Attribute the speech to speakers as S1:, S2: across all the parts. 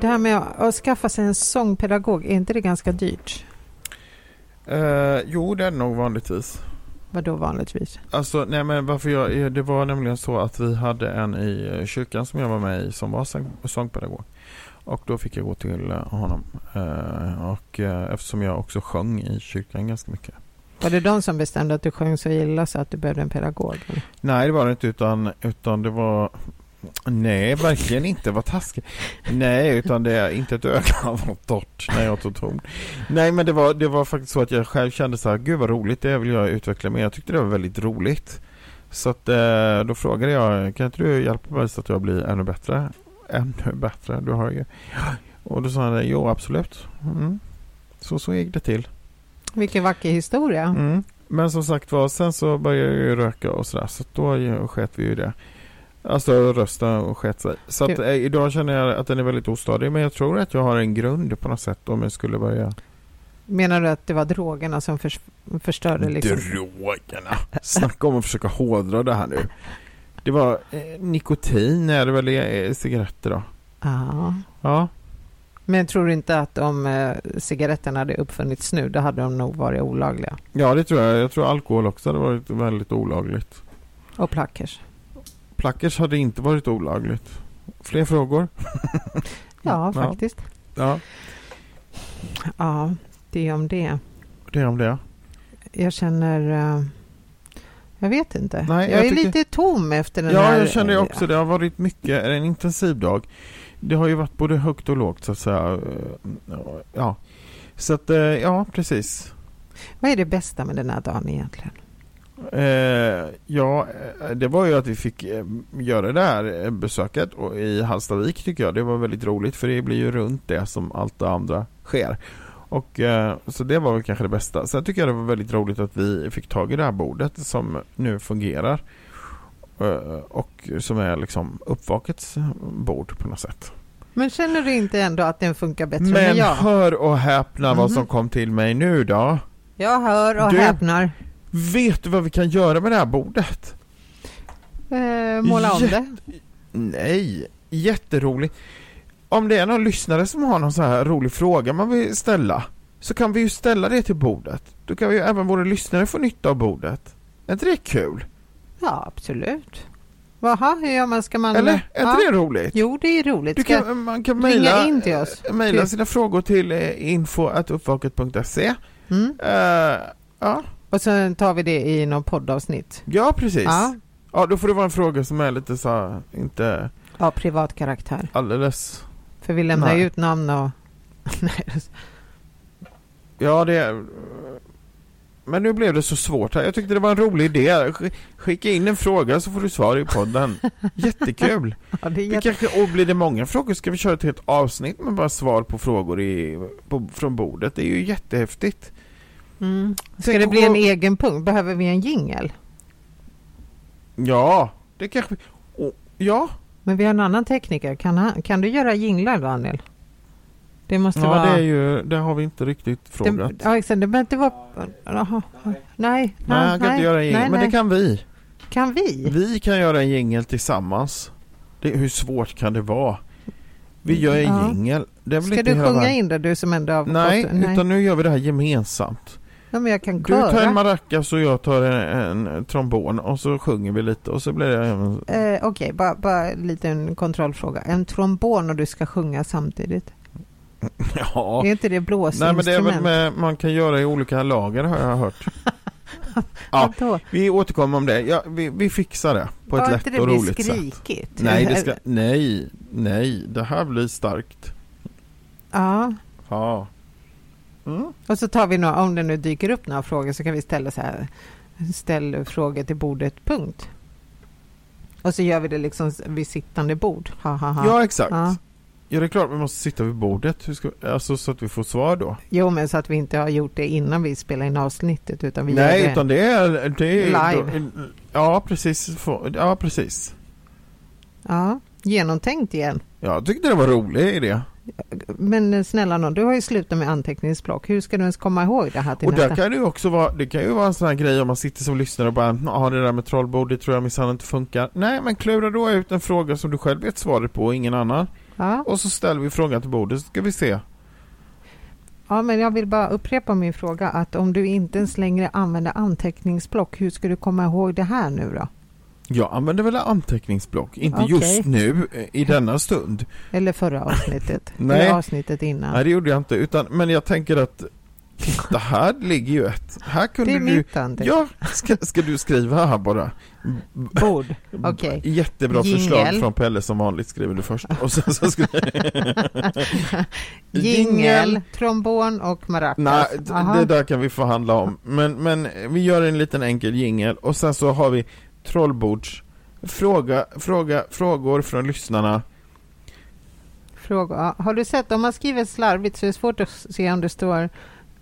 S1: Det här med att att skaffa sig en sångpedagog, är inte det ganska dyrt?
S2: Eh, jo, det är det nog vanligtvis.
S1: Vadå vanligtvis?
S2: Alltså, nej men varför jag, eh, det var nämligen så att vi hade en i eh, kyrkan som jag var med i som var sång, sångpedagog. Och då fick jag gå till eh, honom. Eh, och eh, eftersom jag också sjöng i kyrkan ganska mycket.
S1: Var det de som bestämde att du sjöng så illa så att du behövde en pedagog? eller?
S2: Nej, det var det inte utan, utan det var Nej, verkligen inte. Vad taskigt. Nej, utan det är inte ett öga var torrt när jag tog ton. Nej, men det var, det var faktiskt så att jag själv kände så här, gud vad roligt, det vill jag utveckla mer. Jag tyckte det var väldigt roligt. Så att eh, då frågade jag, kan inte du hjälpa mig så att jag blir ännu bättre? Ännu bättre, du har ju. Och då sa han, jo absolut. Mm. Så, så gick det till.
S1: Vilken vacker historia.
S2: Mm. Men som sagt var, sen så började jag ju röka och sådär, så då ju- sket vi ju i det. Alltså rösta och sket sig. Så att,
S1: Du-
S2: eh, idag känner jag att den är väldigt ostadig, men jag tror att jag har en grund på något sätt om jag skulle börja.
S1: Menar du att det var drogerna som förs- förstörde liksom?
S2: Drogerna! Snacka om att försöka hårdra det här nu. Det var eh, nikotin är det väl i eh, cigaretter då?
S1: Ja.
S2: Ja.
S1: Men tror du inte att om eh, cigaretterna hade uppfunnits nu, då hade de nog varit olagliga?
S2: ja, det tror jag. Jag tror alkohol också hade varit väldigt olagligt.
S1: Och plackers?
S2: Plackers hade inte varit olagligt. Fler frågor?
S1: Ja,
S2: Ja.
S1: faktiskt.
S2: Ja,
S1: Ja, det är om det.
S2: det är om det.
S1: Jag känner... eh, jag vet inte.
S2: Nej,
S1: jag,
S2: jag
S1: är
S2: tycker-
S1: lite tom efter den här... eh,
S2: Ja, jag känner det också. Det har varit mycket, en intensiv dag. Det har ju varit både högt och lågt så att säga. Eh, Ja, så att eh, ja, precis.
S1: Vad är det bästa med den här dagen egentligen?
S2: Eh, ja, eh, det var ju att vi fick eh, göra det här eh, besöket och i Hallstavik tycker jag. Det var väldigt roligt för det blir ju runt det som allt det andra sker. Och, eh, så det var väl kanske det bästa. Sen tycker jag det var väldigt roligt att vi fick tag i det här bordet som nu fungerar. Eh, och som är liksom uppvakets bord på något sätt.
S1: Men känner du inte ändå att den funkar bättre
S2: Men
S1: än jag?
S2: hör och häpna vad
S1: Mhm.
S2: som kom till mig nu då.
S1: Jag hör och
S2: Du-
S1: häpnar.
S2: Vet du vad vi kan göra med det här bordet?
S1: Eh, måla om det.
S2: Nej, jätteroligt. Om det är någon lyssnare som har någon så här rolig fråga man vill ställa så kan vi ju ställa det till bordet. Då kan vi ju även våra lyssnare få nytta av bordet. Är inte det kul?
S1: Ja, absolut. Jaha, hur gör man? Ska man...
S2: Eller? Är inte
S1: ja.
S2: det roligt?
S1: Jo, det är roligt.
S2: Du
S1: Ska...
S2: kan, man kan
S1: ringa
S2: mejla,
S1: in till oss?
S2: eh, mejla
S1: Till-
S2: sina frågor till eh, info.uppvaket.se.
S1: Mm.
S2: Eh, ja,
S1: Och sen tar vi det i någon poddavsnitt.
S2: ja, precis. Ja.
S1: Ja,
S2: då får det vara en fråga som är lite så här, inte
S1: av privat karaktär.
S2: alldeles...
S1: För vi lämnar
S2: Nej.
S1: ju ut namn och... Nej,
S2: Ja, det... Men nu blev det så svårt här. Jag tyckte det var en rolig idé. Sk- Skicka in en fråga så får du svar i podden. Jättekul.
S1: ja, det är
S2: Vi
S1: jätte...
S2: kanske, och blir det många frågor ska vi köra ett helt avsnitt med bara svar på frågor i, på, från bordet. Det är ju jättehäftigt.
S1: mm. Ska
S2: Tänk
S1: det
S2: att
S1: bli
S2: gå-
S1: en egen punkt? Behöver vi en jingel?
S2: Ja, det kanske... Oh, ja,
S1: Men vi har en annan tekniker. Kan, han... kan du göra jinglar, Daniel? Det måste
S2: ja
S1: vara...
S2: det, är ju, det har vi inte riktigt frågat.
S1: Det, ja, exakt. Det behöver inte vara... Jaha. Nej. Nej,
S2: nej, han kan inte göra en jingel.
S1: nej,
S2: Men det
S1: nej.
S2: kan vi.
S1: Kan vi?
S2: Vi kan göra en jingel tillsammans. Det, hur svårt kan det vara? Vi gör en
S1: Ja.
S2: jingel. Det är väl
S1: Ska
S2: inte
S1: du
S2: hela
S1: sjunga
S2: världen.
S1: in det, du som ändå har
S2: Nej,
S1: fått... Nej,
S2: utan nu gör vi det här gemensamt.
S1: ja, men jag kan
S2: Du tar en
S1: köra.
S2: maracas och jag tar en, en trombon och så sjunger vi lite och så blir det... en-
S1: Eh, Okej, bara, bara en liten kontrollfråga. En trombon och du ska sjunga samtidigt.
S2: Ja.
S1: Är inte det
S2: Nej men
S1: blåsinstrument?
S2: det är väl med, man kan göra i olika lager har jag hört. ja.
S1: Vadå?
S2: Vi återkommer om det. Ja, vi, vi fixar det på ett
S1: Bara
S2: lätt
S1: inte det
S2: och
S1: blir
S2: roligt sätt.
S1: skrikigt. Eh,
S2: Nej, det ska, nej, nej, det här blir starkt.
S1: Ja,
S2: Ja. Mm.
S1: och så tar vi några, om det nu dyker upp några frågor så kan vi ställa så här, ställ frågor till bordet, punkt. Och så gör vi det liksom vid sittande bord, ha, ha, ha.
S2: Ja, exakt.
S1: Ja.
S2: Ja. det är klart vi måste sitta vid bordet, Hur ska, alltså, så att vi får svar då.
S1: Jo, men så att vi inte har gjort det innan vi spelar in avsnittet utan vi
S2: Nej,
S1: gör det.
S2: utan det är... Det är
S1: Live.
S2: då- ja, precis. Få- Ja, precis.
S1: Ja, genomtänkt igen.
S2: Jag tyckte det var en rolig idé.
S1: Men eh, snälla nån, du har ju slutat med anteckningsblock. Hur ska du ens komma ihåg det här till
S2: Och där
S1: nästa?
S2: kan det ju också vara, det kan ju vara en sån här grej om man sitter som lyssnare och bara ja det där med trollbord, det tror jag minsann inte funkar. Nej, men klura då ut en fråga som du själv vet svaret på och ingen annan.
S1: Ja.
S2: Och så ställer vi frågan till bordet så ska vi se.
S1: ja, men jag vill bara upprepa min fråga att om du inte ens längre använder anteckningsblock, hur ska du komma ihåg det här nu då?
S2: Jag använder väl anteckningsblock, inte
S1: Okej.
S2: just nu eh, i denna stund.
S1: Eller förra avsnittet?
S2: Nej.
S1: Eller avsnittet innan?
S2: Nej det gjorde jag inte, utan, men jag tänker att titta här ligger ju ett. Här kunde
S1: det är
S2: du...
S1: mitt anteckning.
S2: Ja, ska, ska du skriva här bara?
S1: Bord. Okej.
S2: Jättebra
S1: Jingle.
S2: förslag från Pelle som vanligt skriver du först. Och sen så skriver...
S1: Jingel, trombon och maracas.
S2: Nej, d-
S1: Aha.
S2: det där kan vi förhandla om. Men, men vi gör en liten enkel jingel och sen så har vi trollbords fråga, fråga, frågor från lyssnarna.
S1: Fråga. Ja, Har du sett, om man skriver slarvigt så är det svårt att se om det står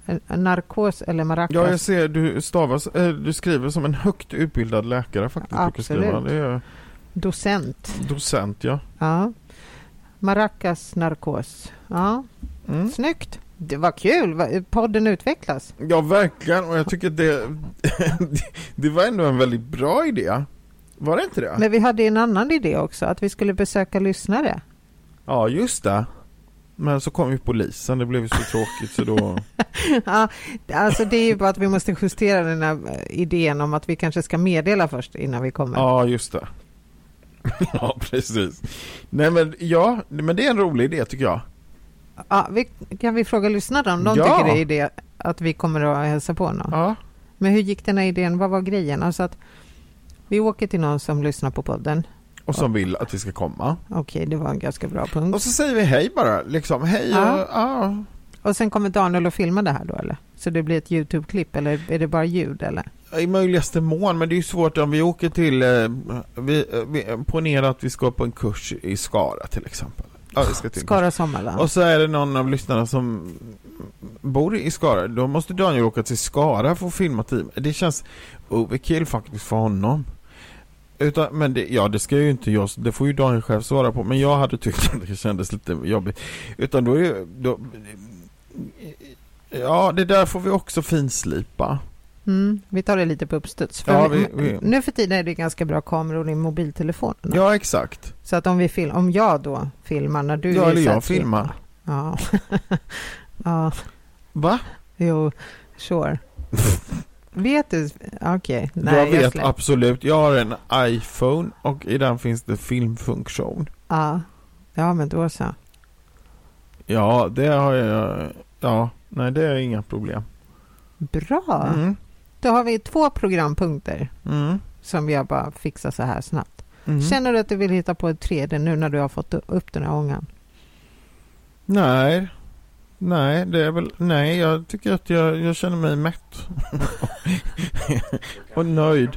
S1: eh, narkos eller maracas.
S2: Ja, jag ser du stavas, eh, du skriver som en högt utbildad läkare faktiskt. brukar skriva.
S1: Absolut.
S2: Det är
S1: Docent.
S2: docent, ja.
S1: Ja. Maracas, narkos. Ja,
S2: Mm.
S1: snyggt. Det var kul. Va- Podden utvecklas.
S2: Ja, verkligen. Och jag tycker det, det var ändå en väldigt bra idé. Var det inte det?
S1: Men vi hade en annan idé också, att vi skulle besöka lyssnare.
S2: Ja, just det. Men så kom ju polisen, det blev ju så tråkigt så då...
S1: Ja, alltså det är ju bara att vi måste justera den här eh, idén om att vi kanske ska meddela först innan vi kommer.
S2: Ja, just det. ja, precis. Nej men ja, men det är en rolig idé tycker jag.
S1: Ja, vi, kan vi fråga lyssnarna om de
S2: Ja.
S1: tycker det är idé att vi kommer att hälsa på någon?
S2: Ja.
S1: Men hur gick den här idén? Vad var grejen? Alltså att vi åker till någon som lyssnar på podden.
S2: Och som vill att vi ska komma.
S1: Okej, det var en ganska bra punkt.
S2: Och så säger vi hej bara, liksom. Hej,
S1: Ja.
S2: ja. ja.
S1: Och sen kommer Daniel att filma det här då eller? Så det blir ett Youtube-klipp eller är det bara ljud eller?
S2: I möjligaste mån, men det är ju svårt om vi åker till, eh, vi, eh, vi, ponera att vi ska på en kurs i Skara till exempel. Ja, vi ska till en kurs.
S1: Skara Sommarland.
S2: Och så är det någon av lyssnarna som bor i Skara, då måste Daniel åka till Skara för att filma team. Det känns overkill faktiskt för honom. Utan, men det, ja, det ska ju inte jag, det får ju Daniel själv svara på, men jag hade tyckt att det kändes lite jobbigt. Utan då är ju, då, Ja, det där får vi också finslipa.
S1: Mm, vi tar det lite på uppstuds. För
S2: Ja,
S1: vi,
S2: vi- vi-
S1: Nu för tiden är det ganska bra kameror i mobiltelefonerna.
S2: Ja, exakt.
S1: Så att om, vi film, om jag då filmar när du typ.
S2: Ja, eller
S1: visar
S2: jag
S1: att vi-
S2: filmar.
S1: Ja. ja,
S2: Va?
S1: jo, sure. vet du? Okej. Nej,
S2: jag vet
S1: släpper.
S2: absolut. Jag har en iPhone och i den finns det filmfunktion.
S1: Ja. ja, men då så.
S2: Ja, det har jag. Ja, nej det är inga problem.
S1: Bra!
S2: Mm.
S1: Då har vi två programpunkter
S2: Mm.
S1: som jag bara fixar så här snabbt.
S2: Mm.
S1: Känner du att du vill hitta på ett tredje nu när du har fått upp den här ångan?
S2: Nej. Nej, det är väl, nej, jag tycker att jag, jag känner mig mätt. och nöjd.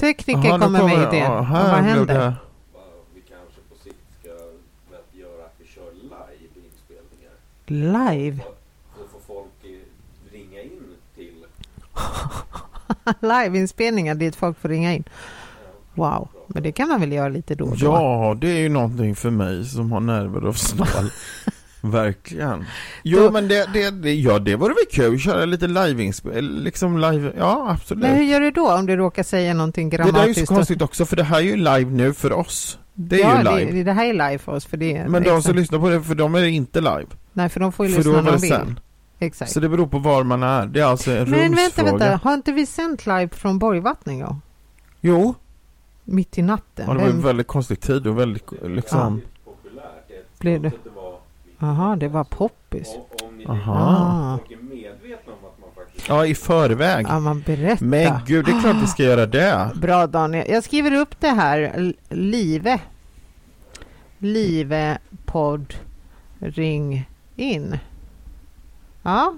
S1: Tekniker
S2: Aha, nu
S1: kommer med
S2: ja,
S1: idén. Och
S2: här
S1: Vad
S2: blev
S1: händer?
S2: det-
S3: vi kanske på sikt ska göra att vi kör live inspelningar.
S1: Live?
S3: Då får folk eh, ringa in till
S1: Liveinspelningar dit folk får ringa in. Wow, men det kan man väl göra lite då och då?
S2: Ja, det är ju någonting för mig som har nerver av stål. Verkligen. Jo,
S1: Då-
S2: men det, det, det, ja, det vore väl kul. Köra lite liveinspel, liksom live, ja absolut.
S1: Men hur gör du då om du råkar säga någonting
S2: det där är ju
S1: grammatiskt?
S2: så konstigt också, för det här är ju live nu för oss. Det är
S1: ja,
S2: ju live.
S1: Det, det här är live för oss. För det är
S2: Men de som
S1: exakt.
S2: lyssnar på det, för de är det inte live.
S1: Nej, för de får ju
S2: För då
S1: lyssna när
S2: var
S1: de
S2: det
S1: vill.
S2: sen.
S1: Exakt.
S2: Så det beror på var man är. Det är alltså en
S1: Men vänta,
S2: rumsfråga.
S1: vänta. Har inte vi sänt live från Borgvattnet? då?
S2: Jo,
S1: Mitt i natten?
S2: ja, det var
S1: Vem
S2: en väldigt konstig tid och väldigt liksom...
S3: populärt. Jag
S1: blir
S3: tror
S1: det?
S3: att det var...
S1: Jaha, det var poppis.
S3: Om- Om ni
S2: Aha.
S1: Ah.
S3: folk är medvetna om att man faktiskt...
S2: Ja, i förväg.
S1: Ja, man berättar.
S2: Men gud, det är klart vi ska göra det.
S1: Bra Daniel. Jag skriver upp det här. L- Live. Live podd. Ring in. Ja,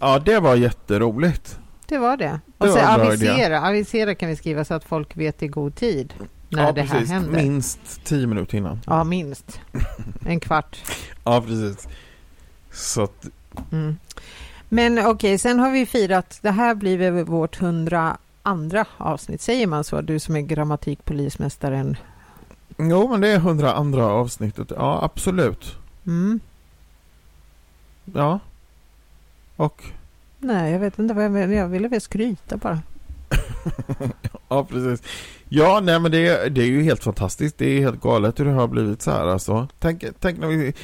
S2: Ja, det var jätteroligt.
S1: det var det. Och
S2: Det
S1: så
S2: var en bra
S1: avisera. Avisera kan vi skriva så att folk vet i god tid när
S2: ja,
S1: det här
S2: precis.
S1: händer.
S2: Minst tio minuter innan.
S1: Ja, minst. En kvart.
S2: Ja, precis. Så att,
S1: Mm. Men okej, sen har vi firat. Det här blir väl vårt hundra andra avsnitt. Säger man så? Du som är grammatikpolismästaren.
S2: jo men det är hundra andra avsnittet. Ja, absolut.
S1: Mm.
S2: Ja. Och
S1: Nej, jag vet inte vad jag ville. Jag ville väl skryta bara.
S2: Ja, precis. Ja, nej men det, det är ju helt fantastiskt. Det är helt galet hur det har blivit så här alltså. Tänk, tänk när vi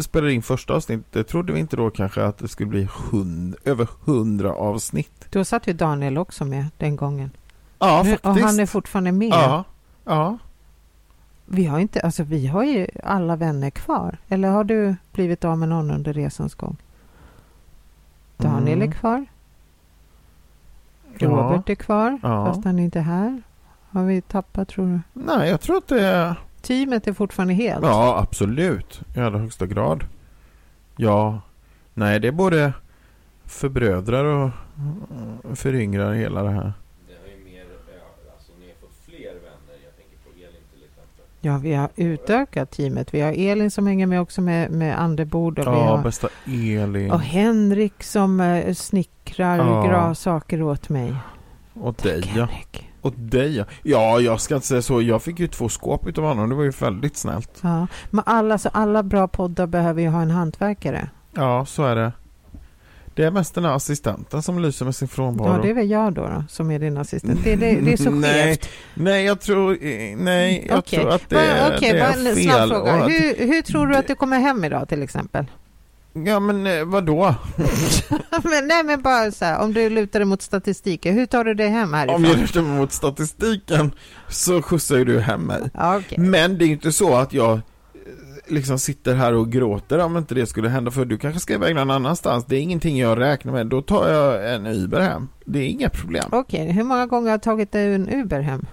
S2: spelade in första avsnittet. Det trodde vi inte då kanske att det skulle bli hund, över hundra avsnitt.
S1: Då satt ju Daniel också med den gången.
S2: Ja,
S1: Nu-
S2: faktiskt.
S1: och han är fortfarande med.
S2: ja, ja.
S1: Vi har inte, alltså vi har ju alla vänner kvar. Eller har du blivit av med någon under resans gång? Daniel
S2: Mm.
S1: är kvar.
S2: Ja.
S1: Robert är kvar,
S2: Ja.
S1: fast han är inte här. Har vi tappat tror du?
S2: Nej, jag tror att det är...
S1: Teamet är fortfarande helt.
S2: Ja, absolut. I allra högsta grad. Ja. Nej, det både förbrödrar och mm, föryngrar hela det här.
S3: Det har ju mer, ja, alltså ni har fått fler vänner. Jag tänker på Elin till exempel.
S1: Ja, vi har utökat teamet. Vi har Elin som hänger med också med, med andebord. Och, vi
S2: Ja,
S1: har,
S2: bästa Elin.
S1: och Henrik som eh, snickrar
S2: Ja.
S1: gra saker åt mig.
S2: Och dig, ja.
S1: Henrik.
S2: Och dig ja. Ja, jag ska inte säga så. Jag fick ju två skåp utav honom. Det var ju väldigt snällt.
S1: Ja. Men alla, så alla bra poddar behöver ju ha en hantverkare.
S2: Ja, så är det. Det är mest den här assistenten som lyser med sin frånvaro.
S1: Ja, det är väl jag då, då som är din assistent. Det, det, det är så
S2: Nej,
S1: skevt.
S2: Nej, jag tror... eh, Nej, jag
S1: Okej.
S2: tror att det,
S1: Va-
S2: är
S1: okej,
S2: det
S1: bara
S2: är
S1: en
S2: fel.
S1: snabb
S2: och
S1: fråga.
S2: att-
S1: Hur, hur tror du att du kommer hem idag till exempel?
S2: Ja, men eh, vadå?
S1: men, nej, men bara så här, om du lutar dig mot statistiken, hur tar du dig hem
S2: Om
S1: härifrån?
S2: jag lutar mig mot statistiken så skjutsar ju du hem mig.
S1: Ja, okej.
S2: Men det är ju inte så att jag eh, liksom sitter här och gråter om inte det skulle hända för du kanske ska iväg någon annanstans. Det är ingenting jag räknar med. Då tar jag en Uber hem. Det är inga problem.
S1: Okej, hur många gånger har du tagit dig en Uber hem?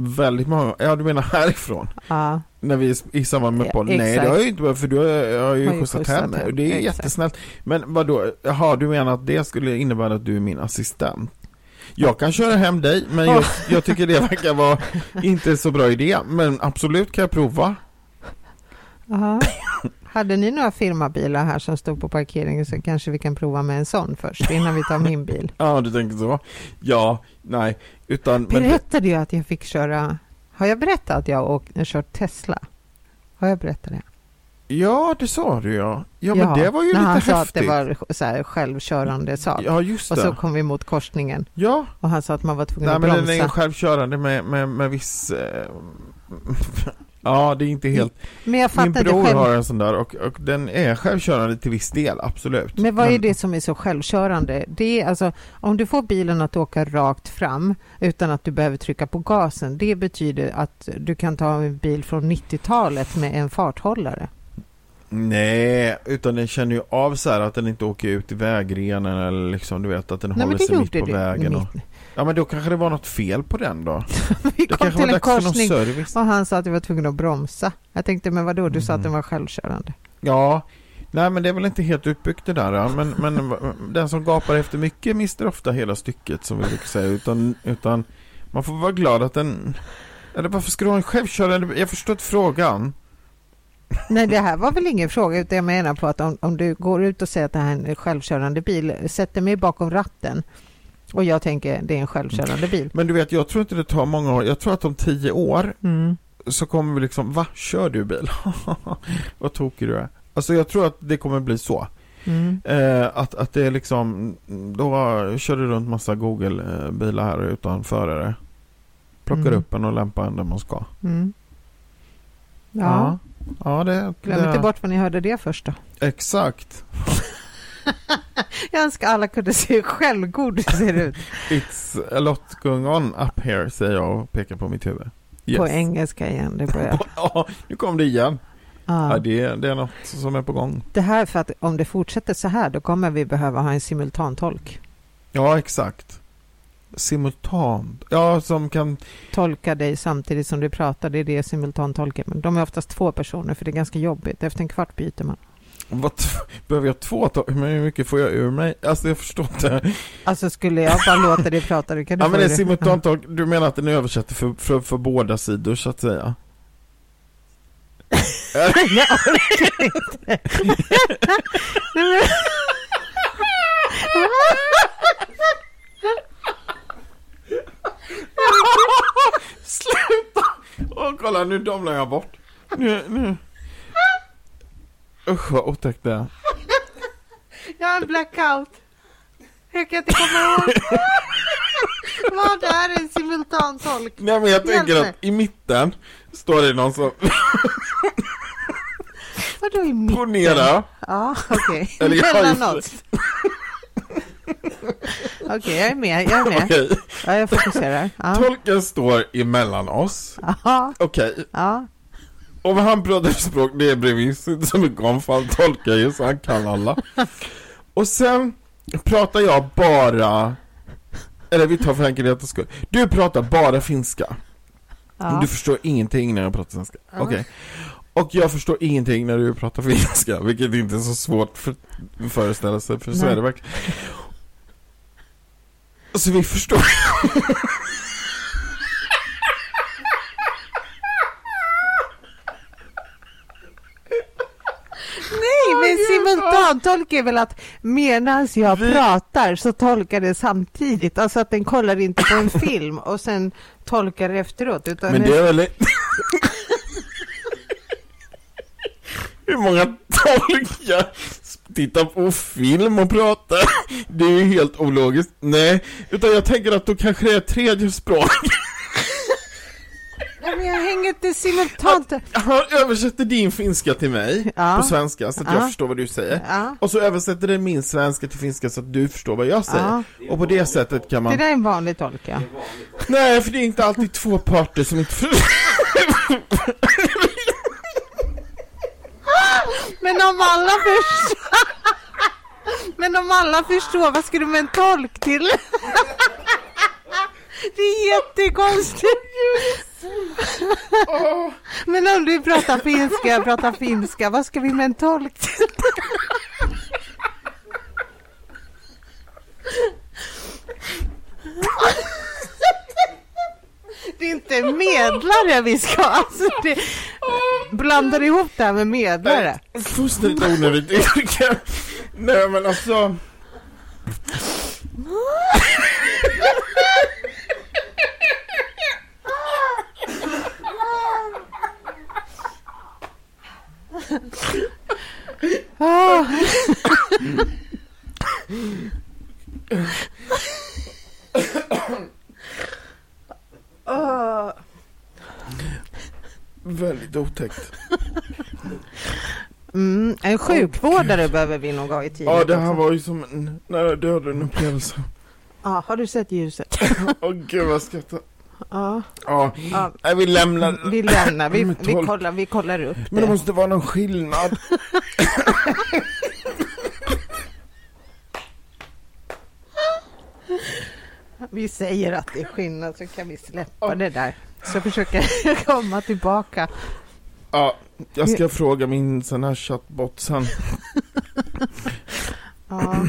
S2: Väldigt många. Ja, du menar härifrån?
S1: Ja,
S2: När vi är i samband med
S1: Ja,
S2: podden? Nej,
S1: exakt.
S2: det har jag ju inte behövt för du har, jag har ju
S1: Har ju
S2: skjutsat
S1: skjutsat
S2: hem mig.
S1: hem,
S2: Det är ju
S1: exakt.
S2: jättesnällt. Men vadå? Jaha, du menar att det skulle innebära att du är min assistent? Jag kan köra hem dig, men jag, jag tycker det verkar vara inte så bra idé. Men absolut kan jag prova.
S1: aha. Hade ni några firmabilar här som stod på parkeringen så kanske vi kan prova med en sån först innan vi tar min bil.
S2: Ja, du tänker så. Ja, nej, utan... Men,
S1: Berättade jag att jag fick köra... Har jag berättat att jag har kört Tesla? Har jag berättat det?
S2: ja, det sa du ja. Ja, men det var ju
S1: när
S2: lite
S1: han
S2: häftigt.
S1: sa att det var så här självkörande sak.
S2: Ja, just
S1: och så
S2: det.
S1: kom vi mot korsningen
S2: Ja,
S1: och han sa att man var tvungen
S2: nej
S1: att
S2: men
S1: bromsa.
S2: den är självkörande med, med, med viss... Eh, ja, det är inte helt...
S1: Men jag
S2: Min
S1: fattar inte
S2: bror
S1: själv.
S2: har en sån där och, och den är självkörande till viss del, absolut.
S1: Men vad är det som är så självkörande? Det är alltså, om du får bilen att åka rakt fram utan att du behöver trycka på gasen, det betyder att du kan ta en bil från 90-talet med en farthållare.
S2: Nej, utan den känner ju av så här att den inte åker ut i vägrenen eller liksom du vet att den håller sig mitt på vägen. Och,
S1: mitt-
S2: ja men då kanske det var något fel på den då.
S1: Vi
S2: Det
S1: kom
S2: kanske var
S1: till en
S2: dags för någon
S1: korsning
S2: service.
S1: och han sa att jag var tvungen att bromsa. Jag tänkte, men vadå, du sa
S2: Mm.
S1: att den var självkörande.
S2: Ja, nej men det är väl inte helt utbyggt det där. ja. Men, men den som gapar efter mycket mister ofta hela stycket som vi brukar säga. Utan, utan man får vara glad att den... Eller varför ska du ha en självkörande... Jag förstår inte frågan.
S1: Nej, det här var väl ingen fråga, utan jag menar på att om, om du går ut och säger att det här är en självkörande bil, sätter mig bakom ratten och jag tänker, det är en självkörande bil.
S2: Men du vet, jag tror inte det tar många år. Jag tror att om tio år
S1: Mm.
S2: så kommer vi liksom, va? Kör du bil? Vad tokig du är. Alltså jag tror att det kommer bli så.
S1: Mm.
S2: Eh, att, att det är liksom, då kör du runt massa Google-bilar här utan förare. Plockar
S1: Mm.
S2: upp en och lämpar en där man ska.
S1: Mm. Ja,
S2: Ja, ja det...
S1: glöm
S2: det,
S1: inte bort var ni hörde det först då.
S2: Exakt.
S1: Jag önskar alla kunde se hur självgod du ser ut
S2: It's a lot going on up here, säger jag och pekar på mitt huvud. Yes.
S1: på engelska igen. Det, börjar.
S2: Ja, nu kom det igen. Ja,
S1: Ja.
S2: det, det är något som är på gång.
S1: det här för att om det fortsätter så här då kommer vi behöva ha en simultantolk.
S2: Ja, exakt. Simultant. Ja, som kan...
S1: Tolka dig samtidigt som du pratar, det är det simultantolken. Men de är oftast två personer för det är ganska jobbigt. Efter en kvart byter man.
S2: Vad, behöver jag två tag? Men hur mycket får jag ur mig? Alltså jag förstår inte.
S1: Alltså skulle jag bara låta dig prata, då kan du
S2: Ja,
S1: få
S2: men det är
S1: det.
S2: simultantolk. Du menar att den översätter för, för, för båda sidor, så att säga?
S1: Jag orkar inte. Nej,
S2: Sluta! Åh, kolla nu domnar jag bort. Nu, nu. Usch vad otäckt det är.
S1: men Jag har en blackout. Jag kan inte komma ihåg. Vad är en simultantolk?
S2: Nej men jag tänker
S1: Hjälp mig.
S2: att i mitten står det någon som
S1: Vadå i mitten?
S2: ponera.
S1: Ja, okej.
S2: Eller jag har
S1: Mellan
S2: just-
S1: oss. Okej, jag är med. Jag är med.
S2: Okej,
S1: Ja, jag fokuserar. Ja.
S2: tolken står emellan oss.
S1: Aha,
S2: Okej,
S1: ja.
S2: och vad han pratar för språk det bryr vi oss inte så mycket om för han tolkar ju så han kan alla. Och sen pratar jag bara, eller vi tar för enkelhetens skull. Du pratar bara finska.
S1: ja.
S2: Du förstår ingenting när jag pratar svenska. Okej. Och jag förstår ingenting när du pratar finska, vilket inte är så svårt för att föreställa sig, för så
S1: Nej.
S2: är det verkligen. Så vi förstår.
S1: Nej, men simultantolk är väl att medan jag
S2: Vi-
S1: pratar så tolkar det samtidigt. Alltså att den kollar inte på en film och sen tolkar efteråt. Utan
S2: Men det är väl... Hur många tolkar tittar på film och pratar? Det är ju helt ologiskt. Nej, utan jag tänker att då kanske det är ett tredje språk.
S1: Nej, men jag hänger inte simultant.
S2: Han översätter din finska till mig
S1: Ja.
S2: på svenska så att jag
S1: Ja.
S2: förstår vad du säger.
S1: Ja.
S2: Och så översätter den min svenska till finska så att du förstår vad jag säger.
S1: Ja.
S2: Och på det sättet kan
S1: Det
S2: man...
S1: där är en vanlig tolk, ja.
S2: Nej, för det är inte alltid två parter som inte förstår.
S1: Men om alla förstår... Men om alla förstår, vad ska du med en tolk till? Det är jättekonstigt. Men om du pratar finska, jag pratar finska, vad ska vi med en tolk till? Det är inte medlare vi ska alltså det, Blandar ihop det här med medlare.
S2: Fullständigt onödigt yrke. Nej, men alltså...
S1: Ah. Ah.
S2: Väldigt otäckt.
S1: Mm, en sjukvårdare behöver vi nog ha i tiden.
S2: Ja, det här
S1: också.
S2: var ju som en nära döden upplevelse.
S1: Ja, har du sett ljuset?
S2: Åh gud vad jag skrattar.
S1: Ja.
S2: Ja,
S1: Ja.
S2: nej, vi lämnar.
S1: Vi lämnar, vi,
S2: Men
S1: vi,
S2: tolk-
S1: kollar, vi kollar upp
S2: Men det
S1: det.
S2: måste vara någon skillnad.
S1: Vi säger att det är skillnad så kan vi släppa det där. Så försöker jag komma tillbaka.
S2: Ja, jag ska fråga min sån här chattbot sen.
S1: Ja.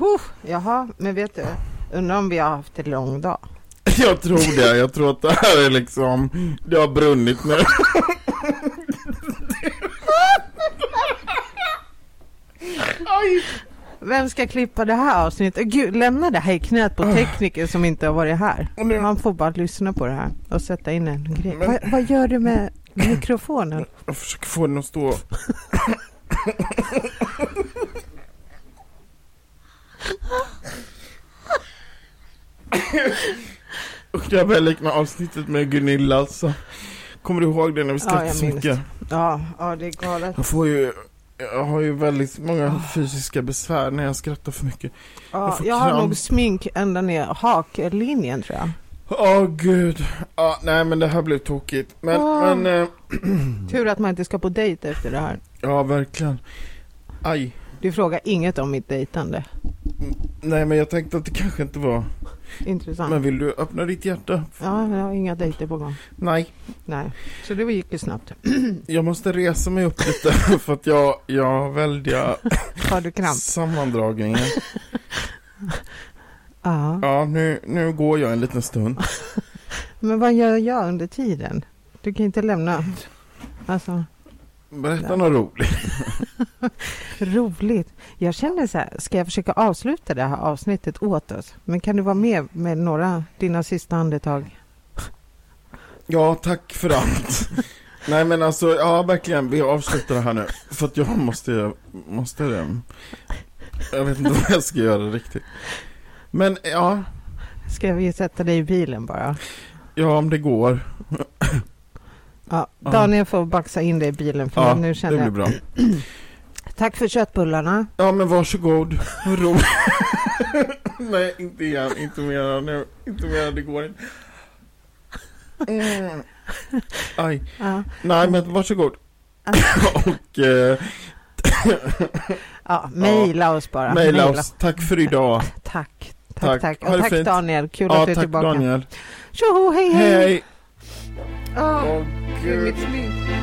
S1: Huh, jaha, men vet du, undrar om vi har haft en lång dag.
S2: Jag tror det, jag tror att det här är liksom, det har brunnit nu.
S1: Vem ska klippa det här avsnittet? Gud, lämna det här i knät på
S2: Ah.
S1: tekniker som inte har varit här.
S2: Och nu-
S1: Man får bara lyssna på det här och sätta in en grej.
S2: Men-
S1: Vad, vad gör du med mikrofonen?
S2: Jag försöker få den att stå. Usch, det här börjar likna avsnittet med Gunilla alltså. Kommer du ihåg det när vi skrattade
S1: jag
S2: så
S1: minns.
S2: mycket?
S1: Ja, ja, det är galet.
S2: Jag får ju, jag har ju väldigt
S1: Ah.
S2: många fysiska besvär när jag skrattar för mycket.
S1: Ja,
S2: Jag får
S1: jag har
S2: kramp.
S1: nog smink ända ner haklinjen tror jag.
S2: Åh gud. Ja, nej men det här blev tokigt. Men,
S1: Ah.
S2: men, eh,
S1: Tur att man inte ska på dejt efter det här.
S2: ja verkligen. Aj.
S1: Du frågar inget om mitt dejtande.
S2: Nej men jag tänkte att det kanske inte var.
S1: Intressant.
S2: Men vill du öppna ditt hjärta?
S1: Ja, jag har inga dejter på gång.
S2: Nej.
S1: Nej, så det gick ju snabbt.
S2: Jag måste resa mig upp lite för att jag, jag har väldiga
S1: Har du kramp?
S2: sammandragningar.
S1: Ja.
S2: Ja, nu, nu går jag en liten stund.
S1: Men vad gör jag under tiden? Du kan inte lämna... Alltså,
S2: Berätta
S1: Ja.
S2: något roligt.
S1: roligt. Jag känner så här, ska jag försöka avsluta det här avsnittet åt oss? Men kan du vara med med några, dina sista andetag?
S2: Ja, tack för allt. Nej men alltså, ja verkligen, vi avslutar det här nu. För att jag måste, måste eh, det. Jag vet inte vad jag ska göra riktigt. Men ja,
S1: Ska vi sätta dig i bilen bara?
S2: Ja, om det går.
S1: Ja,
S2: Ja.
S1: Daniel får baxa in dig i bilen för
S2: Ja,
S1: nu
S2: det
S1: känner
S2: blir
S1: jag.
S2: bra.
S1: Tack för köttbullarna.
S2: Ja, men varsågod. Vad roligt. Nej, inte igen. Inte mera nu. Inte mera, det går inte. Mm. Aj.
S1: Ja.
S2: Nej, men varsågod.
S1: Alltså.
S2: Och eh,
S1: Ja, mejla oss bara.
S2: mejla oss. Tack för idag.
S1: Tack.
S2: Tack.
S1: Tack, tack.
S2: Ha
S1: Och
S2: det
S1: tack
S2: fint.
S1: Daniel, kul
S2: Ja,
S1: att du är
S2: tack
S1: tillbaka.
S2: Daniel.
S1: Tjoho, hej hej!
S2: Hej.
S1: Åh,
S2: Åh,
S1: gud,
S2: gud.
S1: mitt smink.